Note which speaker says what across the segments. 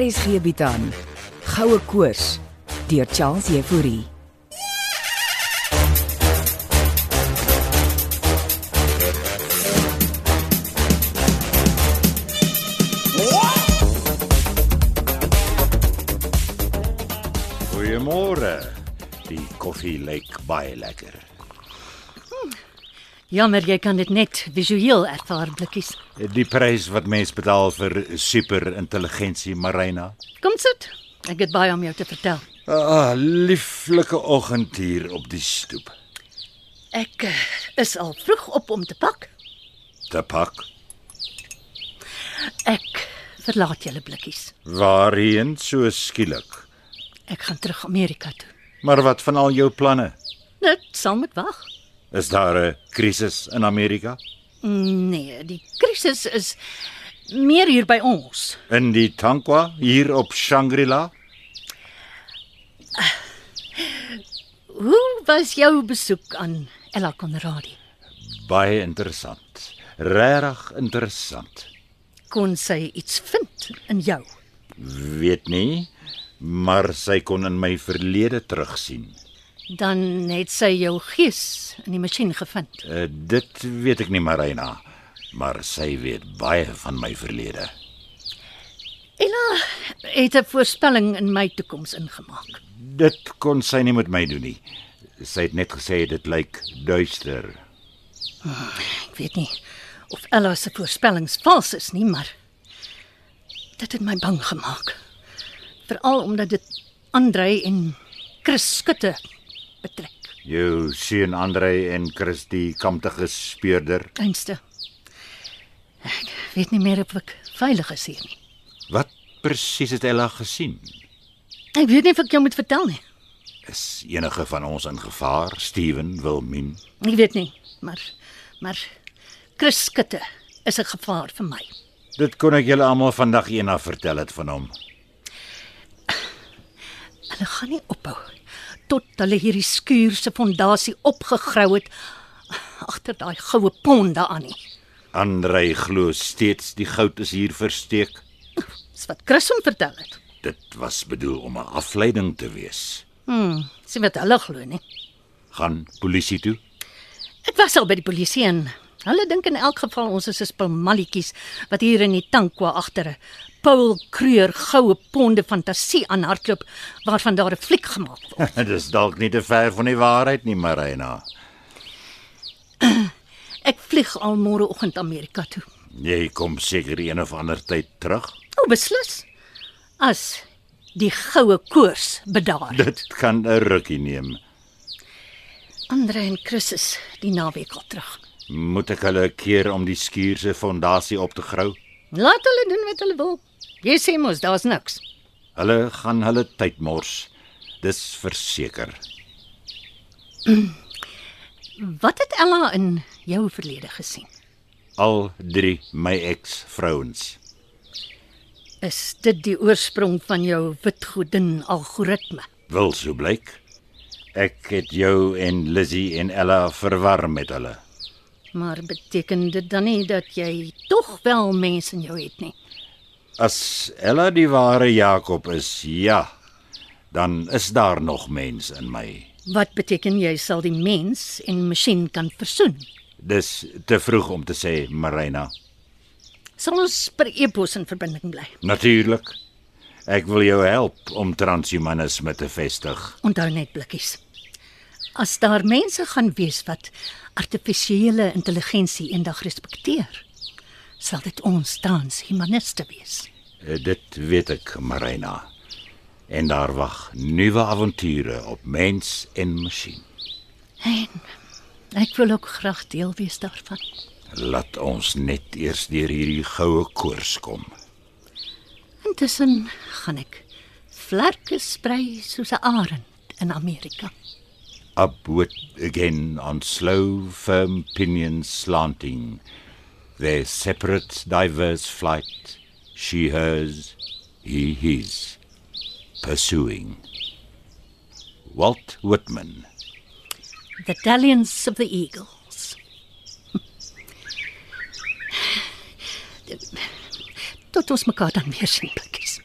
Speaker 1: RSG bied aan Goue Koors deur Charles Euphorie.
Speaker 2: Goeiemôre. Die koffie lyk baie lekker.
Speaker 3: Jammer, jy kan dit net visueel ervaar blikkies.
Speaker 2: Die prys wat mens betaal vir superintelligensie Marina.
Speaker 3: Kom sit. Ek het baie om jou te vertel.
Speaker 2: Ah, lieflike oggend hier op die stoep.
Speaker 3: Ek eh, is al vroeg op om te pak.
Speaker 2: Te pak.
Speaker 3: Ek verlaat julle blikkies.
Speaker 2: Waarheen so skielik?
Speaker 3: Ek gaan terug Amerika toe.
Speaker 2: Maar wat van al jou planne?
Speaker 3: Dit sal moet wag.
Speaker 2: Is daar 'n krisis in Amerika?
Speaker 3: Nee, die krisis is meer hier by ons.
Speaker 2: In die Tankwa hier op Shangri-La?
Speaker 3: Hoe was jou besoek aan Ella Conradie?
Speaker 2: Baie interessant. Regtig interessant.
Speaker 3: Kon sy iets vind in jou?
Speaker 2: Weet nie, maar sy kon in my verlede terugsien.
Speaker 3: Dan het sy jou gees in die masjien gevind.
Speaker 2: Uh, dit weet ek nie Marina, maar sy weet baie van my verlede.
Speaker 3: Ella het 'n voorspelling in my toekoms ingemaak.
Speaker 2: Dit kon sy nie met my doen nie. Sy het net gesê dit lyk duister.
Speaker 3: Ek weet nie of Ella se voorspellings vals is nie, maar dit het my bang gemaak. Veral omdat dit Andrei en Chris Skutte betrek.
Speaker 2: Jou seun Andre en Christie kamptige speurder.
Speaker 3: Einste. Ek weet nie meer of ek veilig is hier nie.
Speaker 2: Wat presies het Ella gesien?
Speaker 3: Ek weet nie of ek jou moet vertel nie.
Speaker 2: Is enige van ons in gevaar? Steven, Wilmien,
Speaker 3: Ek weet nie, maar maar Chris Skutte is 'n gevaar vir my.
Speaker 2: dit kon ek julle almal vandag eendag vertel het van hom.
Speaker 3: Hulle gaan nie ophou tot hulle hierdie skuur se fondasie opgegrou het agter daai goue pond daaraan nie.
Speaker 2: Andre glo steeds die goud is hier versteek.
Speaker 3: Dis wat Chris hom vertel het.
Speaker 2: Dit was bedoel om 'n afleiding te wees.
Speaker 3: Hm, sien wat hulle glo nie.
Speaker 2: Gaan polisie toe.
Speaker 3: Ek was al by die polisie en hulle dink in elk geval ons is 'n spul malletjies wat hier in die tankwa agter 'n Paul Kreur goue ponde fantasie aan hardloop waarvan daar 'n fliek gemaak word.
Speaker 2: Dis dalk nie te ver van die waarheid nie, Marina.
Speaker 3: Ek vlieg al môreoggend Amerika toe.
Speaker 2: Jy kom seker een of ander tyd terug.
Speaker 3: O, beslis. As die goue koers bedaar.
Speaker 2: Dit kan 'n rukkie neem.
Speaker 3: Andre en Chris is die naweek al terug.
Speaker 2: Moet ek hulle keer om die skuur se fondasie op te grou?
Speaker 3: Laat hulle doen wat hulle wil. Jy sê mos daar's niks.
Speaker 2: Hulle gaan hulle tyd mors. Dis verseker.
Speaker 3: Wat het Ella in jou verlede gesien?
Speaker 2: Al drie my ex-vrouens.
Speaker 3: Is dit die oorsprong van jou witgodin algoritme?
Speaker 2: Wil so blyk. Ek het jou en Lizzie en Ella verwar met hulle.
Speaker 3: Maar beteken dit dan nie dat jy tog wel mense in jou het nie?
Speaker 2: As Ella die ware Jakob is, ja, dan is daar nog mens in my.
Speaker 3: Wat beteken jy sal die mens en masjien kan versoen?
Speaker 2: Dis te vroeg om te sê, Marina.
Speaker 3: Sal ons per epos in verbinding bly?
Speaker 2: Natuurlik. Ek wil jou help om transhumanisme te vestig.
Speaker 3: Onthou net blikkies. As daar mense gaan wees wat artifisiële intelligensie eendag respekteer, sal dit ons tans humaniste wees.
Speaker 2: Eh, Dit weet ek, Marina. En daar wag nuwe avonture op mens en masjien.
Speaker 3: En ek wil ook graag deel wees daarvan.
Speaker 2: Laat ons net eers deur hierdie goue koers kom.
Speaker 3: Intussen gaan ek vlerke sprei soos 'n arend in Amerika.
Speaker 2: Upward again on slow, firm pinions slanting. Their separate, diverse flight, she hers, he his, pursuing. Walt Whitman.
Speaker 3: The Dalliance of the Eagles. Tot ons mekaar dan weer sien, blikkies.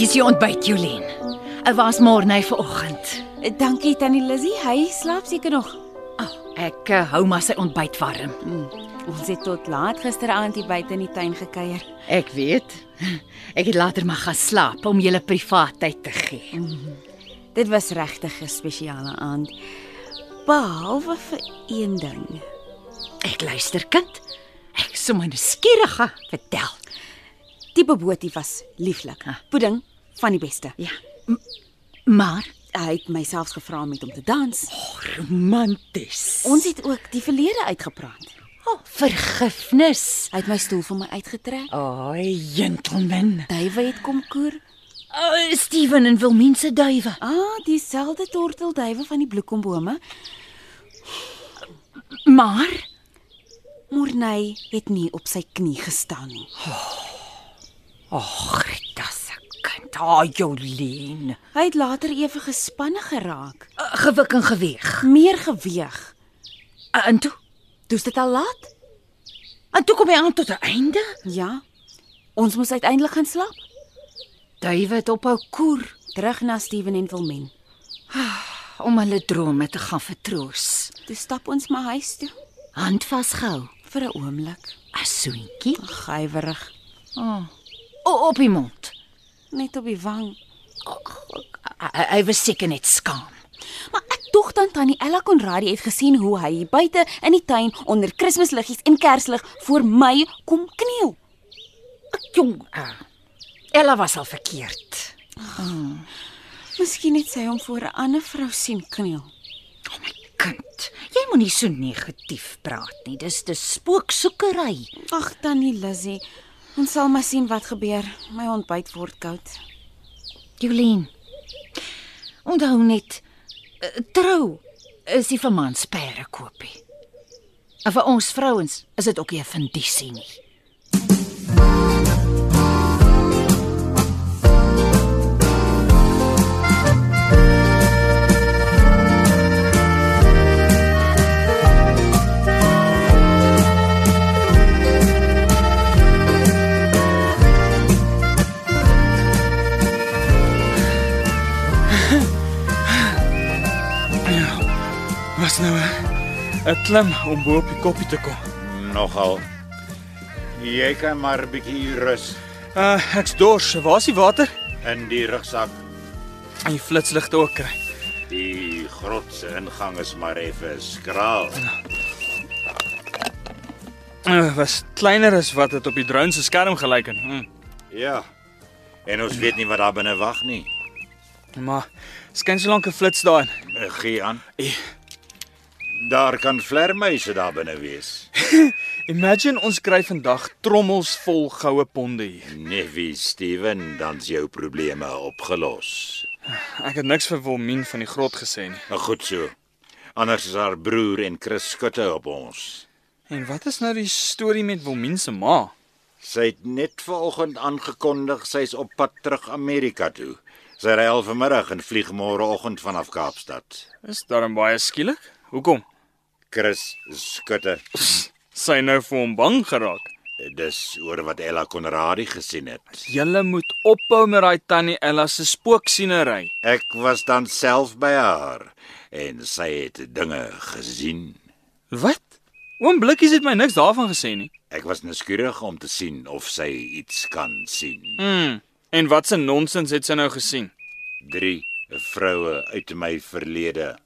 Speaker 4: is jou ontbyt, Jolien. Ek was môre vanoggend.
Speaker 5: Dankie tannie Lizzie, hy slaap seker nog.
Speaker 4: Ek eh, hou maar sy ontbyt warm.
Speaker 5: Ons het tot laat gisteraand hier buite in die tuin gekuier.
Speaker 4: Ek weet. Ek het later maar gaan slaap om julle privaat tyd te gee.
Speaker 5: Dit was regtig 'n spesiale aand. Behalwe vir een ding.
Speaker 4: Ek luister, kind. Ek is sommer nuuskierige. Vertel.
Speaker 5: Die bebootie was lieflik. Pudding van die beste.
Speaker 4: Ja. M maar
Speaker 5: Hy het myself gevra om met hom te dans.
Speaker 4: romanties.
Speaker 5: Ons het ook die verlede uitgepraat.
Speaker 4: Oh, vergifnis.
Speaker 5: Hy het my stoel vir my uitgetrek.
Speaker 4: Ai, gentleman.
Speaker 5: Duwe het kom koer.
Speaker 4: Oh, Steven en Wilmien se duwe.
Speaker 5: Ah, dieselfde tortelduwe van die bloekombome.
Speaker 4: Maar
Speaker 5: Morney het nie op sy knie gestaan nie.
Speaker 4: ag, dis 'n kind. Ai, Jolien.
Speaker 5: Hy het later ewe gespanne geraak,
Speaker 4: Uh, gewik en geweg.
Speaker 5: meer geweg.
Speaker 4: Uh, en toe,
Speaker 5: Does dit al laat?
Speaker 4: en toe kom hy aan tot 'n einde.
Speaker 5: Ja. Ons moes uiteindelik gaan slaap,
Speaker 4: Duwe het ophou koer
Speaker 5: terug na Steven en Wilmen.
Speaker 4: om hulle drome te gaan vertroos.
Speaker 5: Toe stap ons maar huis toe
Speaker 4: Hand vasgehou,
Speaker 5: vir 'n oomblik,
Speaker 4: 'n soentjie
Speaker 5: gywerig,
Speaker 4: o- op die mond.
Speaker 5: net op die wang.
Speaker 4: Hy- Hy was seker net skaam.
Speaker 5: Maar ek tog dan tannie Ella Conradie het gesien hoe hy hier buite in die tuin onder Kersliggies en kerslig voor my kom kniel.
Speaker 4: Jong, uh, Ella was al verkeerd.
Speaker 5: Miskien het sy hom voor 'n ander vrou sien kniel.
Speaker 4: Oh my kind, jy moenie so negatief praat nie. Dis dis spooksoekery.
Speaker 5: Ag tannie Lizzie, ons sal maar sien wat gebeur. My ontbyt word koud.
Speaker 4: Jolien. Onthou net eh, trou is nie vir mans pere koopie. En vir ons vrouens is dit ook nie 'n vindisie nie.
Speaker 6: Was nou 'n- 'n klim om bo op die koppie te kom.
Speaker 2: Nogal. Jy kan maar 'n bietjie rus
Speaker 6: Uh, ek's dors. Waar's die water?
Speaker 2: in die rugsak.
Speaker 6: En die flitsligte ook kry.
Speaker 2: Die grot se ingang is maar effe skraal.
Speaker 6: Uh, was kleiner as wat dit op die drone se skerm gelyk het. Mm.
Speaker 2: Ja. En ons weet nie wat daar binne wag nie.
Speaker 6: Maar skyn so lank 'n flits daarin.
Speaker 2: Eh, Gee aan. Daar kan vlermuise daar binne wees.
Speaker 6: Imagine ons kry vandag trommels vol goue ponde hier.
Speaker 2: Nee, wie Steven, dan's jou probleme opgelos.
Speaker 6: Ek het niks vir Wilmien van die grot gesê nie.
Speaker 2: Nou goed so. Anders is haar broer en Chris skutte op ons.
Speaker 6: En wat is nou die storie met Wilmien se ma?
Speaker 2: Sy het net vanoggend aangekondig sy's op pad terug Amerika toe. Sy ry al vanmiddag en vlieg môreoggend vanaf Kaapstad.
Speaker 6: Is daarom baie skielik? Hoekom?
Speaker 2: Chris skutte.
Speaker 6: Sy nou vir hom bang geraak.
Speaker 2: Dis oor wat Ella Conradie gesien het.
Speaker 6: Julle moet ophou met daai tannie Ella se spooksienery.
Speaker 2: Ek was dan self by haar en sy het dinge gesien.
Speaker 6: Wat? Oom Blikkies het my niks daarvan gesê nie.
Speaker 2: Ek was nuuskierig om te sien of sy iets kan sien.
Speaker 6: Mm. En wat 'n nonsens het sy nou gesien?
Speaker 2: Drie vroue uit my verlede.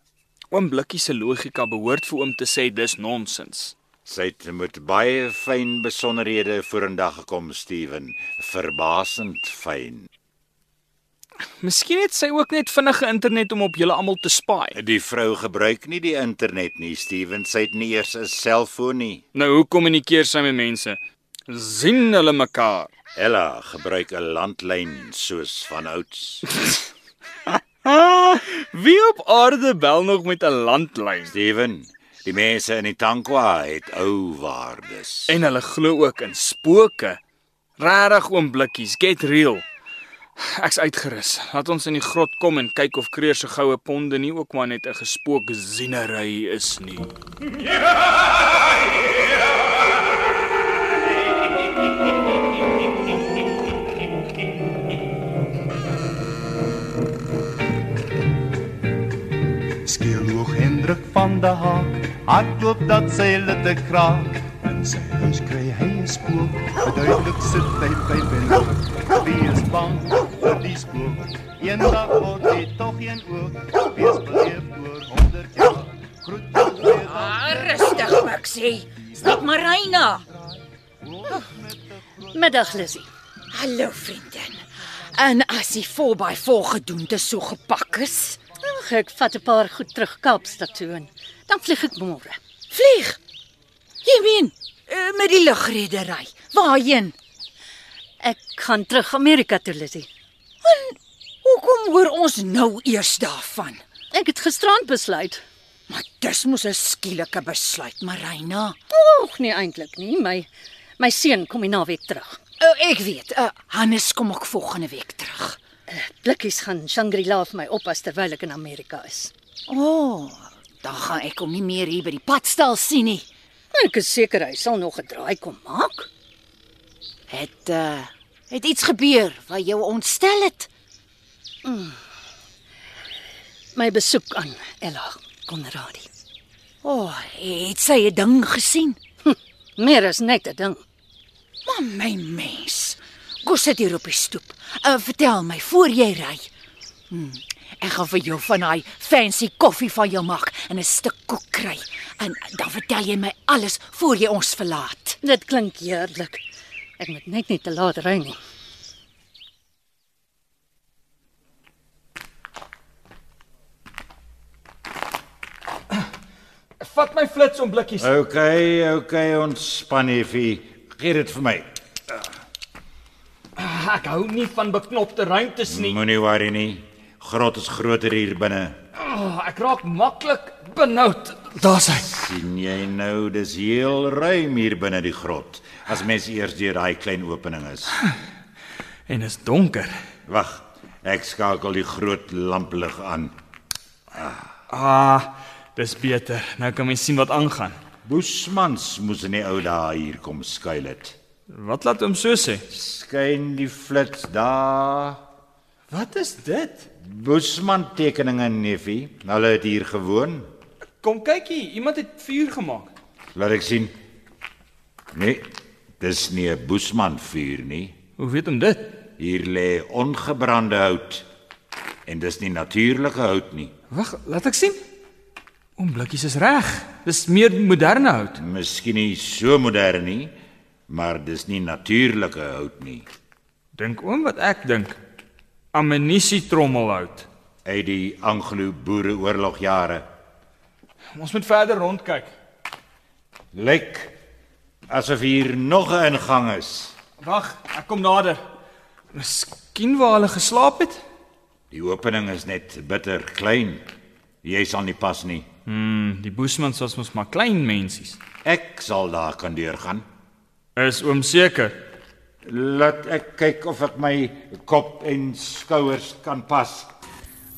Speaker 6: Oom Blikkies se logika behoort vir oom te sê dis nonsens.
Speaker 2: Sy het met baie fyn besonderhede vorendag gekom, Steven, verbasend fyn.
Speaker 6: Miskien het sy ook net vinnige internet om op julle almal te spy.
Speaker 2: Die vrou gebruik nie die internet nie, Steven. Sy het nie eers 'n selfoon nie.
Speaker 6: Nou hoe kommunikeer sy met mense? Sien hulle mekaar?
Speaker 2: Ella gebruik 'n landlyn soos van ouds.
Speaker 6: Ah, wie op aarde bel nog met 'n landlyn?
Speaker 2: Steven, die mense in die Tankwa het ou waardes.
Speaker 6: En hulle glo ook in spooke. Regtig oom Blikkies, get real. Ek's uitgerus. Laat ons in die grot kom en kyk of Kreur se goue ponde nie ook maar net 'n gespook zienery is nie.
Speaker 7: druk van de haak. Hardloop dat seile te kraak. En sê, ons kry hy 'n spook. Verduidelik sit hy by binne. Wie is bang vir die spook? Eendag word hy tog een oog. Wees beleef oor 100 jaar. Groet hom weer
Speaker 4: Ah, rustig, Maxie. Stap Marina.
Speaker 3: Middag Lissy.
Speaker 4: Hallo vriendin. En as jy voorby volgedoen te so gepak is,
Speaker 3: Ag, ek vat 'n paar goed terug Kaapstad toe en dan vlieg ek môre.
Speaker 4: vlieg. Jy meen, eh, met die lugredery. Waarheen?
Speaker 3: Ek gaan terug Amerika toe Lissy.
Speaker 4: Hoekom hoor ons nou eers daarvan?
Speaker 3: Ek het gisterand besluit.
Speaker 4: Maar dis mos 'n skielike besluit, Marina.
Speaker 3: Nog nie eintlik nee, nie, my my seun kom die naweek terug.
Speaker 4: Uh, ek weet, uh, Hannes kom ek volgende week terug.
Speaker 3: Blikkies gaan Shangri-La vir my oppas terwyl ek in Amerika is.
Speaker 4: O, oh, dan gaan ek hom nie meer hier by die padstal sien nie.
Speaker 3: Ek is seker hy sal nog 'n draai kom maak.
Speaker 4: Het uh, het iets gebeur wat jou ontstel het?
Speaker 3: My besoek aan Ella Konradi.
Speaker 4: O, oh, het sy 'n ding gesien?
Speaker 3: Meer is net 'n ding.
Speaker 4: Maar my mens, kom sit hier op die stoep. Uh, vertel my voor jy ry. Hm, ek gaan vir jou van daai fancy koffie van jou maak en 'n stuk koek kry. En dan vertel jy my alles voor jy ons verlaat.
Speaker 3: Dit klink heerlik. Ek moet net nie te laat ry nie.
Speaker 6: Vat my flits om blikkies.
Speaker 2: OK, OK, ontspan effie. Gee dit vir my.
Speaker 6: Ek hou nie van beknopte ruimtes nie.
Speaker 2: Moenie worry nie. Grot is groter hier binne.
Speaker 6: Oh, ek raak maklik benoud. Daar's hy.
Speaker 2: sien jy nou, dis heel ruim hier binne die grot. As mens eers deur daai klein opening is.
Speaker 6: En is donker.
Speaker 2: Wag, ek skakel die groot lamplig aan.
Speaker 6: Ah, dis beter. Nou kan mens sien wat aangaan.
Speaker 2: Boesmans moes in die ou dae hier kom skuil het.
Speaker 6: Wat laat hom so sê?
Speaker 2: Skyn die flits daar.
Speaker 6: Wat is dit?
Speaker 2: Boesman tekeninge neffie. Hulle het hier gewoon.
Speaker 6: Kom kyk hier, iemand het vuur gemaak.
Speaker 2: Laat ek sien. Nee, dis nie 'n boesman vuur nie.
Speaker 6: Hoe weet hom dit?
Speaker 2: Hier lê ongebrande hout. En dis nie natuurlike hout nie.
Speaker 6: Wag, laat ek sien. Oom Blikkies is reg. Dis meer moderne hout.
Speaker 2: Miskien nie so modern nie, maar dis nie natuurlike hout nie.
Speaker 6: Dink oom wat ek dink. Ammunisie trommelhout.
Speaker 2: Uit die Anglo-Boereoorlog jare.
Speaker 6: Ons moet verder rondkyk.
Speaker 2: Lyk asof hier nog 'n ingang is.
Speaker 6: Wag, ek kom nader. Miskien waar hulle geslaap het?
Speaker 2: Die opening is net bitter klein. Jy sal nie pas nie.
Speaker 6: Hmm, die Boesmans was mos maar klein mensies.
Speaker 2: Ek sal daar kan deurgaan.
Speaker 6: Is oom seker?
Speaker 2: Laat ek kyk of ek my kop en skouers kan pas.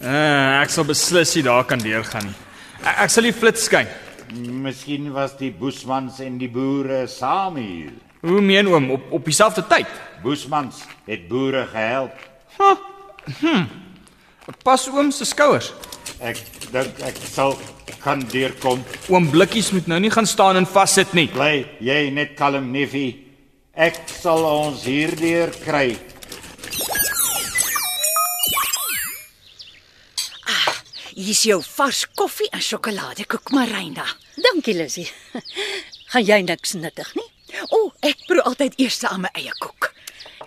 Speaker 6: Uh, ek sal beslis nie daar kan deurgaan nie. E, Ek, ek sal die flits skyn.
Speaker 2: Miskien was die Boesmans en die boere saam hier.
Speaker 6: Hoe meen oom op op dieselfde tyd?
Speaker 2: Boesmans het boere gehelp.
Speaker 6: Pas oom se skouers.
Speaker 2: Ek dink ek sal kan deurkom.
Speaker 6: Oom Blikkies moet nou nie gaan staan en vassit nie.
Speaker 2: Bly jy net kalm, Neffie. Ek sal ons hierdeur kry.
Speaker 4: Hier's jou vars koffie en sjokoladekoek, Marina.
Speaker 3: Dankie Lissy. Gaan jy niks nuttig nie?
Speaker 4: O, oh, ek proe altyd eers aan my eie koek.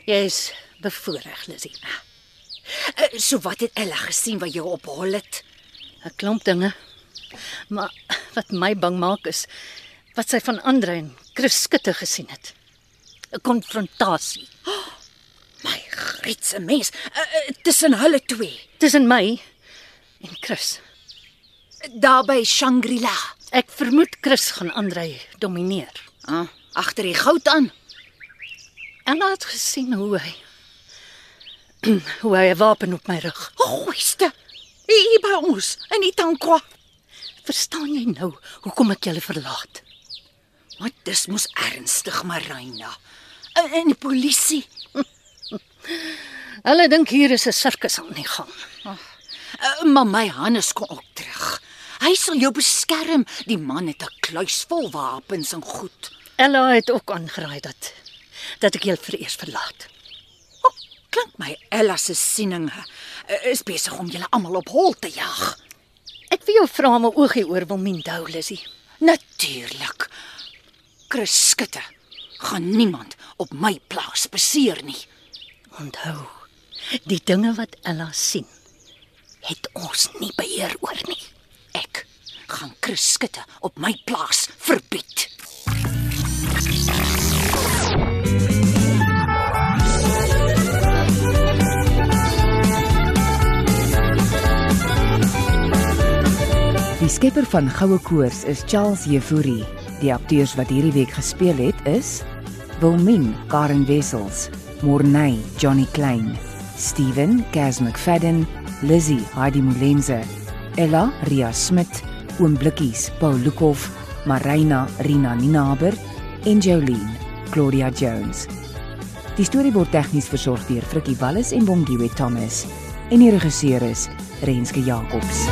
Speaker 3: Jy's bevoordeel Lissy.
Speaker 4: Ah. Uh, so wat het Ella gesien wat jou ophol het?
Speaker 3: 'n Klomp dinge. Maar wat my bang maak is wat sy van ander en Chris Skutte gesien het. 'n Konfrontasie
Speaker 4: My grietse mens, uh, uh, tussen hulle twee,
Speaker 3: tussen my en Chris.
Speaker 4: daar by Shangri-La,
Speaker 3: Ek vermoed Chris gaan Andrei domineer.
Speaker 4: uh, agter die goud aan.
Speaker 3: Ella het gesien hoe hy hoe hy 'n wapen op my rug.
Speaker 4: Goeiste. Hier by ons in die tankwa.
Speaker 3: Verstaan jy nou hoekom ek julle verlaat?
Speaker 4: Maar dis mos ernstig, Marina. En, en die polisie.
Speaker 3: Hulle dink hier is 'n sirkus aan die gang.
Speaker 4: Uh, maar my Hannes kom ook terug.
Speaker 3: Hy sal jou beskerm. Die man het 'n kluis vol wapens en goed.
Speaker 8: Ella het ook aangeraai dat dat ek jou vereers verlaat.
Speaker 3: Klink my Ella se sieninge eh, is besig om julle almal op hol te jag.
Speaker 8: Ek wil jou vra om 'n oogie oor Wilmien Dou, Lissy.
Speaker 3: Natuurlik. Chris skitte. Gaan niemand op my plaas beseer nie.
Speaker 8: Onthou, die dinge wat Ella sien, het ons nie beheer oor nie.
Speaker 3: Ek gaan Chris skitte op my plaas verbied.
Speaker 4: Die skepper van Goue Koors is Charles Jefouri. Die akteurs wat hierdie week gespeel het is Wilmin Karen Wessels, Morney Johnny Klein, Steven Gaz McFadden, Lizzy Heidi Molenze, Ella Ria Smit, Oom Blikkies Paul Lukhof, Marina Rina Ninaber en Jolene Claudia Jones. Die storie word tegnies versorg deur Frikkie Wallis en Bongwe Thomas en die regisseur is Renske Jacobs.